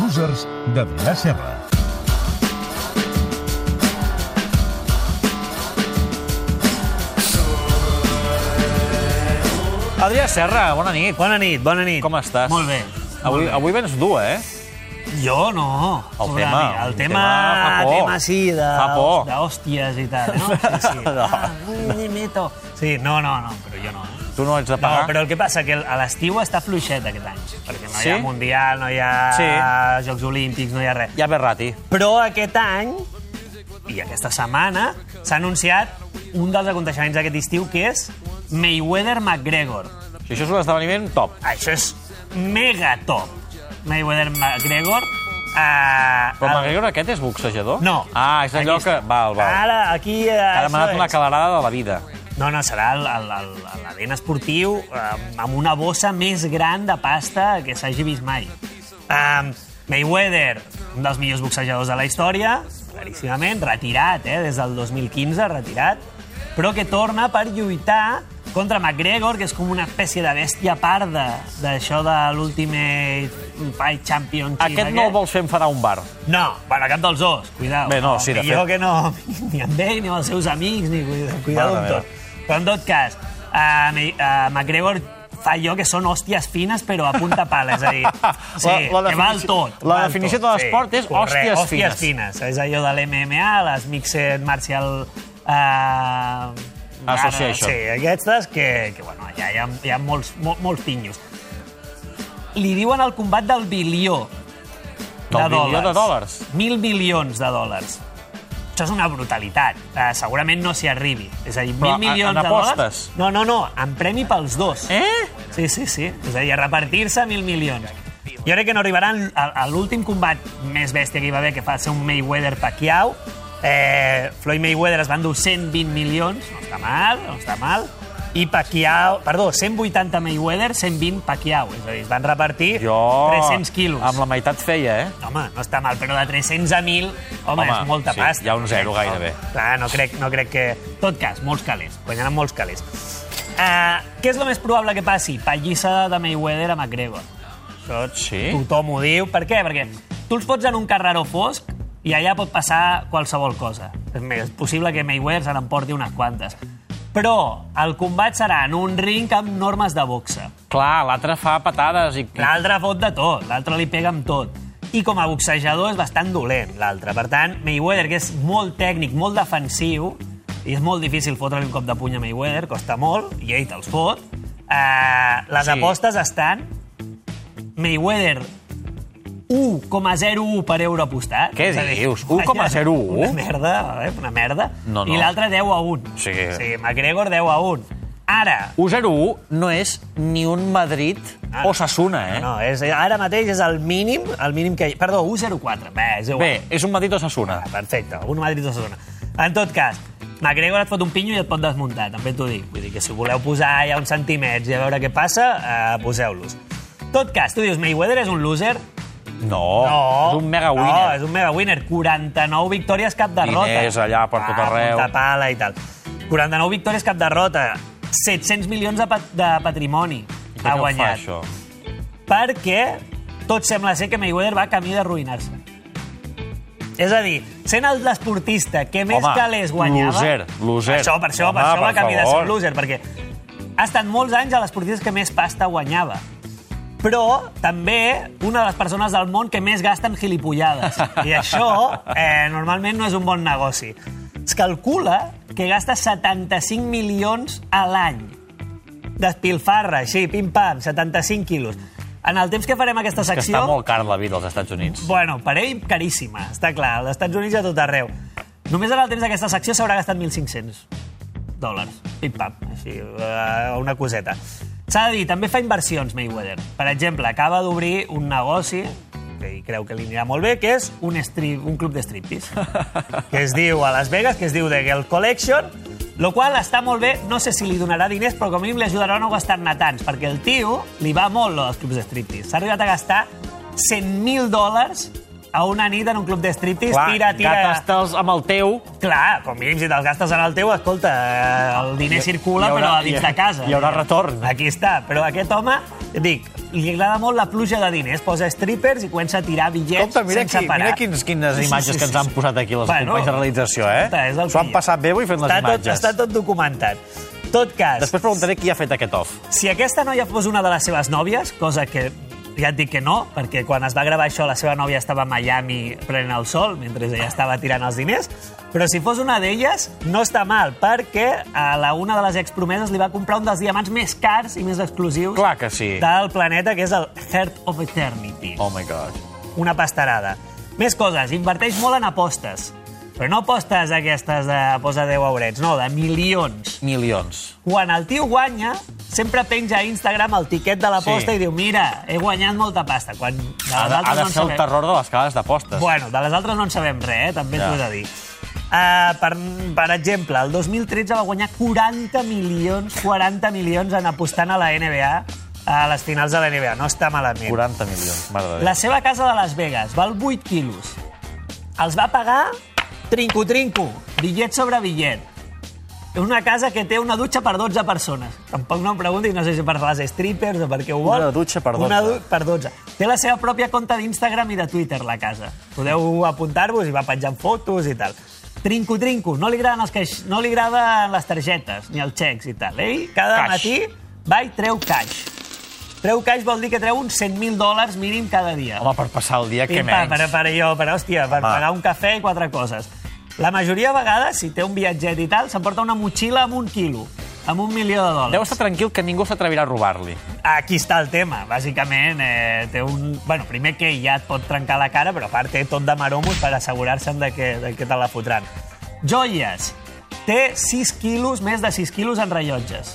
Losers de Vila Serra. Adrià Serra, bona nit. Bona nit, bona nit. Com estàs? Molt bé. Avui, avui vens dur, eh? Jo no. El Sobre tema, mi. El el tema, tema fa por. tema sí, de- Fa por. d'hòsties i tal, no? Sí, sí. No. Ah, mm, meto. Sí, no, no, no, però jo no. eh? Tu no ets de No, pagar. però el que passa que el- a l'estiu està fluixet aquest any, perquè no hi ha Sí? Mundial, no hi ha Sí. Jocs Olímpics, no hi ha res. Ja ve rati. Però aquest any, i aquesta setmana, s'ha anunciat un dels aconteixements d'aquest estiu, que és Mayweather-McGregor. Si això és un esdeveniment, top. Això és mega top. Mayweather McGregor. Uh, Però McGregor aquest és boxejador? No. Ah, és allò Aquí que... està. Val, val. Ara, aquí... Uh, Ha demanat una calarada de la vida. No, no, serà el- el- el- el- l'event esportiu eh, amb una bossa més gran de pasta que s'hagi vist mai. Um, Mayweather, un dels millors boxejadors de la història, claríssimament, retirat, eh, des del 2015, retirat, però que torna per lluitar contra McGregor, que és com una espècie de bèstia parda d'això de l'Ultimate Fight Championship. Aquest no el vols fer enfanar a un bar. No, bueno, cap dels dos, cuidao. Bé, no, sí, de millor fet. que no, ni amb ell, ni amb els seus amics, ni cuida- cuidao Mare amb meva. tot. Però en tot cas, uh, uh, McGregor fa allò que són hòsties fines, però a punta pala, és a dir, sí, La- la que val definició- tot. la val definició tot, de l'esport és correcte, hòsties hòsties fines. És allò de l'MMA, les Mixed Martial... Uh, Association. Sí, aquestes que, que bueno, ja hi ha, hi ha molts, mol, molts pinyos. Li diuen el combat del bilió, Del bilió de dòlars. Mil milions de dòlars. Això és una brutalitat. Uh, segurament no s'hi arribi. És a dir, Però mil en- milions en de dòlars... apostes? No, no, no, en premi pels dos. Eh? Sí, sí, sí. És a dir, a repartir-se mil milions. Jo crec que no arribaran a, a l'últim combat més bèstia que hi va haver, que va ser un Mayweather-Pacquiao. Eh, Floyd Mayweather es va endur 120 milions, no està mal, no està mal. I Pacquiao... Perdó, 180 Mayweather, 120 Pacquiao. És a dir, es van repartir Jo... 300 quilos. Amb la meitat feia, eh? Home, no està mal, però de 300 a 1.000, home, Home, és molta sí, pasta. hi ha un zero gairebé. Clar, no crec, no crec que... En tot cas, molts calés, guanyaran molts calés. Uh, què és el més probable que passi? Pallissa de Mayweather a McGregor. Això Sí? tothom ho diu. Per què? Perquè tu els fots en un carreró fosc i allà pot passar qualsevol cosa. És més, és possible que Mayweather se n'emporti unes quantes. Però el combat serà en un ring amb normes de boxa. Clar, l'altre fa patades i... L'altre fot de tot, l'altre li pega amb tot. I com a boxejador és bastant dolent, l'altre. Per tant, Mayweather, que és molt tècnic, molt defensiu, i és molt difícil fotre-li un cop de puny a Mayweather, costa molt, i ell te'ls fot. Uh, les Sí. sí. apostes estan... Mayweather, 1,01 per euro apostat. Què És a dir, dius? 1,01? Una merda, eh? una merda. No, no. I l'altre 10 a 1. Sí. sí, McGregor 10 a 1. Ara, 1-0-1 no és ni un Madrid Ah, o Sassuna, eh? No, és, ara mateix és el mínim, el mínim que... hi- Perdó, 1-0-4. Bé, és igual. Bé, és un Madrid o Sassuna. Perfecte, un Madrid o Sassona. En tot cas, McGregor et fot un pinyo i et pot desmuntar, també t'ho dic. Vull dir que si voleu posar ja uns centímetres i a veure què passa, eh, poseu-los. En tot cas, tu dius, Mayweather és un loser? No, Oh, és un mega No, winner. és un mega winner. 49 victòries, cap derrota. Diners allà per tot Ah, arreu. punta pala i tal. 49 victòries, cap derrota. 700 milions de, pat de patrimoni I per ha què ho guanyat. Fa, això? perquè tot sembla ser que Mayweather va camí d'arruïnar-se. És a dir, sent el esportista que més Home, calés guanyava... loser, loser. Això, per això, Home, per això va per camí de ser favor. un loser, perquè ha estat molts anys a l'esportista que més pasta guanyava. Però també una de les persones del món que més gasta en gilipollades. I això eh, normalment no és un bon negoci. Es calcula que gasta 75 milions a l'any despilfarra, així, pim-pam, 75 quilos. En el temps que farem aquesta Que secció... està molt car la vida als Estats Units. Bueno, per ell, caríssima, està clar. Als Estats Units i a tot arreu. Només en el temps d'aquesta secció s'haurà gastat 1.500 dòlars. Pim-pam, així, eh, una coseta. S'ha de dir, també fa inversions, Mayweather. Per exemple, acaba d'obrir un negoci que hi creu que li anirà molt bé, que és un, strip, un club de striptease, que es diu a Las Vegas, que es diu The Girl Collection, lo qual està molt bé, no sé si li donarà diners, però com a mínim li ajudarà a no gastar-ne tants, perquè el tio li va molt, lo dels clubs de striptease. S'ha arribat a gastar 100.000 dòlars a una nit en un club de striptease, tira, tira... Gatastels amb el teu... Clar, com mínim, si te'ls gastes en el teu, escolta, eh, el diner Hi- circula, hi haurà- però a dins hi- de casa. eh? hi haurà retorn. Aquí està. Però aquest home, dic, li agrada molt la pluja de diners. Posa strippers i comença a tirar bitllets Compte, mira, sense qui, parar. mira quins, quines imatges que ens han posat aquí les Bueno, companys de realització, eh? escolta, és del S'ho han pillo. passat bé avui fent les Està tot, imatges. està tot documentat. Tot cas, Després preguntaré qui ha fet aquest off. si aquesta noia fos una de les seves nòvies, cosa que ja et dic que no, perquè quan es va gravar això la seva nòvia estava a Miami prenent el sol mentre ella estava tirant els diners, però si fos una d'elles no està mal, perquè a la una de les expromeses li va comprar un dels diamants més cars i més exclusius Clar que sí. del planeta, que és el Heart of Eternity Oh my God. una pastarada. Més coses, inverteix molt en apostes. Però no apostes aquestes de posa 10 aurets, no, de milions. Milions. Quan el tio guanya, sempre penja a Instagram el tiquet de l'aposta sí. Sí. i diu, mira, he guanyat molta pasta. Quan de les Ha de, ha altres de no en ser el sabem- terror de les cases d'apostes. Bueno, de les altres no en sabem res, eh? també Ja. t'ho he de dir. Uh, per, per exemple, el 2013 va guanyar 40 milions, 40 milions en apostant a la NBA, a les finals de la NBA. No està malament. 40 milions, mare de Déu. La seva casa de Las Vegas val 8 quilos. Els va pagar trinco-trinco, bitllet sobre bitllet. És una casa que té una dutxa per 12 persones. Tampoc no em pregunti, no sé si per les strippers o per què ho vol. Una dutxa per Una 12. du per 12. Té la seva pròpia compte d'Instagram i de Twitter, la casa. Podeu apuntar-vos i va penjant fotos i tal. Trinco, trinco. No li agraden, els caix... no li agraden les targetes, ni els xecs i tal. Ell cada Cash. matí va i treu caix. Treu caix vol dir que treu uns 100.000 dòlars mínim cada dia. Home, per passar el dia, què Pim, pam, per, menys? per allò, per, hòstia, per Home. pagar un cafè i quatre coses. La majoria de vegades, si té un viatget i tal, s'emporta una motxilla amb un quilo, amb un milió de dòlars. Deu estar tranquil que ningú s'atrevirà a robar-li. Aquí està el tema. Bàsicament, eh, té un... Bueno, primer que ja et pot trencar la cara, però a part té tot de maromos per assegurar-se'n de que, de que te la fotran. Joies. Té 6 quilos, més de 6 quilos en rellotges.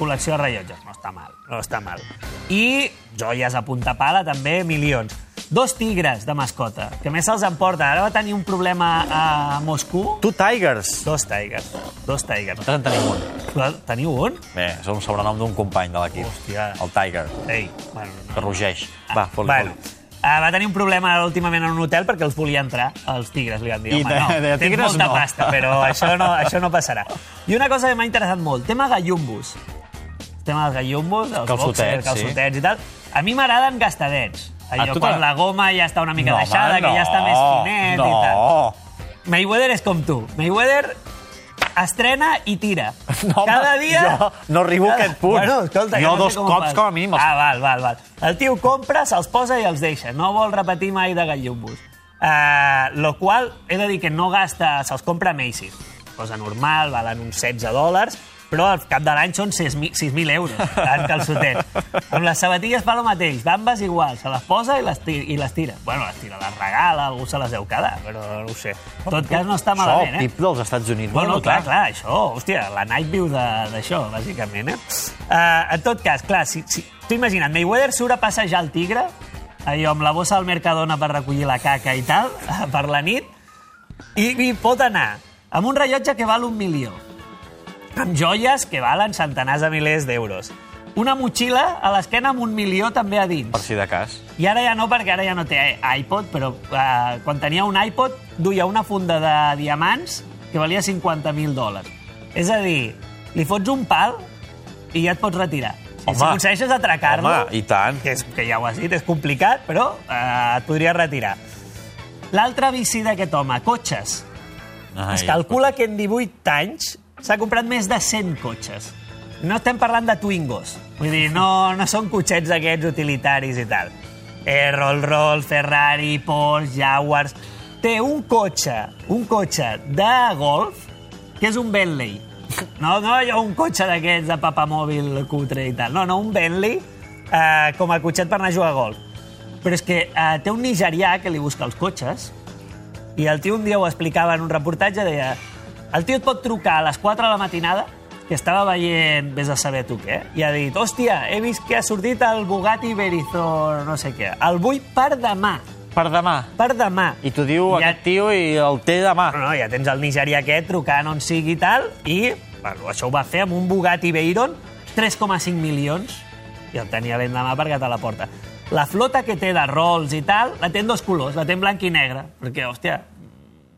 Col·lecció de rellotges. No està mal, no està mal. I joies a punta pala, també, milions. Dos tigres de mascota, que a més se'ls emporta. Ara va tenir un problema a Moscou. Tu, Tigers! Dos tigers, dos tigers. Nosaltres en tenim un. Teniu un? Bé, és un sobrenom d'un company de l'equip. Hòstia. El Tiger, Ei, bueno, no. que rugeix. Va, fot-li, Bueno, fot-li. ah, va tenir un problema últimament en un hotel perquè els volia entrar, els tigres, li van dir. I Home, de- no, de tens tigres molta no." pasta, però això no, això no passarà. I una cosa que m'ha interessat molt, tema gallumbos. El tema dels gallumbos, els Calçotets, boxers, sí. calçotets sí. i tal. A mi m'agraden gastadets. Allò, tu quan t'agrada- la goma ja està una mica No, deixada, home, que ja està més finet no, i tal. Mayweather és com tu. Mayweather estrena i tira. No, home, Cada dia... jo no arribo a Cada- aquest punt. Bueno, escolta, Jo ja no sé dos com ho cops fas. com a mínim els- Ah, val, val, val. El tio compra, se'ls posa i els deixa. No vol repetir mai de gallumbos. Uh, lo qual, he de dir que no gasta... Se'ls compra a Macy's. Cosa normal, valen uns 16 dòlars, però al cap de l'any són 6.000 6.000 euros, tant calçotets. Amb les sabatilles fa el mateix, bambes igual, se les posa i les, tira, i les tira. Bueno, les tira, les regala, algú se les deu quedar, però no ho sé. En tot cas, no està malament, Això, eh? pip dels Estats Units. Bueno, clar, clar, això, hòstia, la Night View de- d'això, bàsicament, eh? Uh, en tot cas, clar, si, si, tu imagina't, Mayweather surt a passejar el tigre, allò amb la bossa del Mercadona per recollir la caca i tal, per la nit, i, i pot anar amb un rellotge que val un milió, amb joies que valen centenars de milers d'euros, una motxilla a l'esquena amb un milió també a dins. Per si de cas. I ara ja no, perquè ara ja no té iPod, però eh, quan tenia un iPod duia una funda de diamants que valia 50.000 dòlars. És a dir, li fots un pal i ja et pots retirar. Si, Home. si aconsegueixes atracar-lo, Home, i tant. que, és, que ja ho has dit, és complicat, però eh, et podries retirar. L'altre vici d'aquest home, cotxes. Ai, Es calcula que en 18 anys s'ha comprat més de 100 cotxes. No estem parlant de Twingos. Vull dir, no, no són cotxets aquests utilitaris i tal. Eh, Rolls Royce, Ferrari, Porsche, Jaguars... Té un cotxe, un cotxe de golf, que és un Bentley. No, no allò un cotxe d'aquests de papamòbil cutre i tal. No, no, un Bentley eh, com a cotxet per anar a jugar a golf. Però és que eh, té un nigerià que li busca els cotxes, i el tio un dia ho explicava en un reportatge, deia... El tio et pot trucar a les 4 de la matinada, que estava veient, vés a saber tu què, i ha dit, hòstia, he vist que ha sortit el Bugatti Verizon, no sé què. El vull per demà, Per demà. per demà. I t'ho diu Ja- Ah, aquest tio i el té demà. No, no, ja tens el nigerià aquest trucant on sigui i tal, i bueno, això ho va fer amb un Bugatti Veyron, 3,5 milions, i el tenia l'endemà perquè te la porta. La flota que té de rols i tal, la té en dos colors, la té en blanc i negre, perquè, hòstia,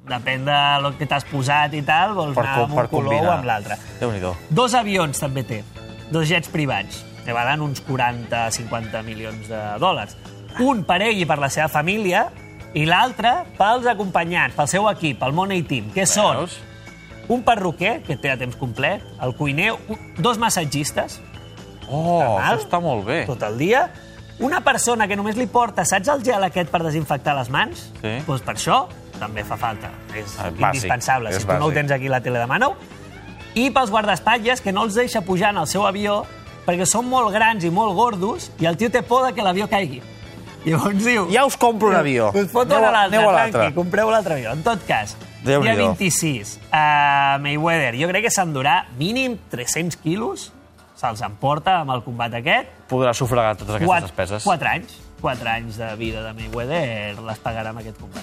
depèn de lo que t'has posat i tal, vols Per, anar co- amb per un color combinar. o amb l'altre. Déu-n'hi-do. Dos avions també té, dos jets privats. que valen uns 40-50 milions de dòlars. Un per ell i per la seva família, i l'altre pels acompanyants, pel seu equip, el Money Team, que són Veus? un perruquer, que té a temps complet, el cuiner, un- dos massatgistes, Oh, Mal. això està molt bé. tot el dia. Una persona que només li porta, saps el gel aquest per desinfectar les mans? Sí. Doncs per això també fa falta. És Ah, bàsic, indispensable. és si tu no ho bàsic. tens aquí a la tele, demana-ho. I pels guardaespatlles, que no els deixa pujar en el seu avió perquè són molt grans i molt gordos i el tio té por de que l'avió caigui. Llavors diu... Ja us compro un avió. Us fot Aneu a a- l'altre, aneu a l'altre. tranqui, compreu l'altre avió. En tot cas, Déu-n'hi-do. dia 26, a Mayweather, jo crec que s'endurà mínim 300 quilos, se'ls emporta amb el combat aquest, Podrà sufragar totes aquestes Quatre- despeses. Quatre anys. Quatre anys de vida de Mayweather les pagarà amb aquest combat.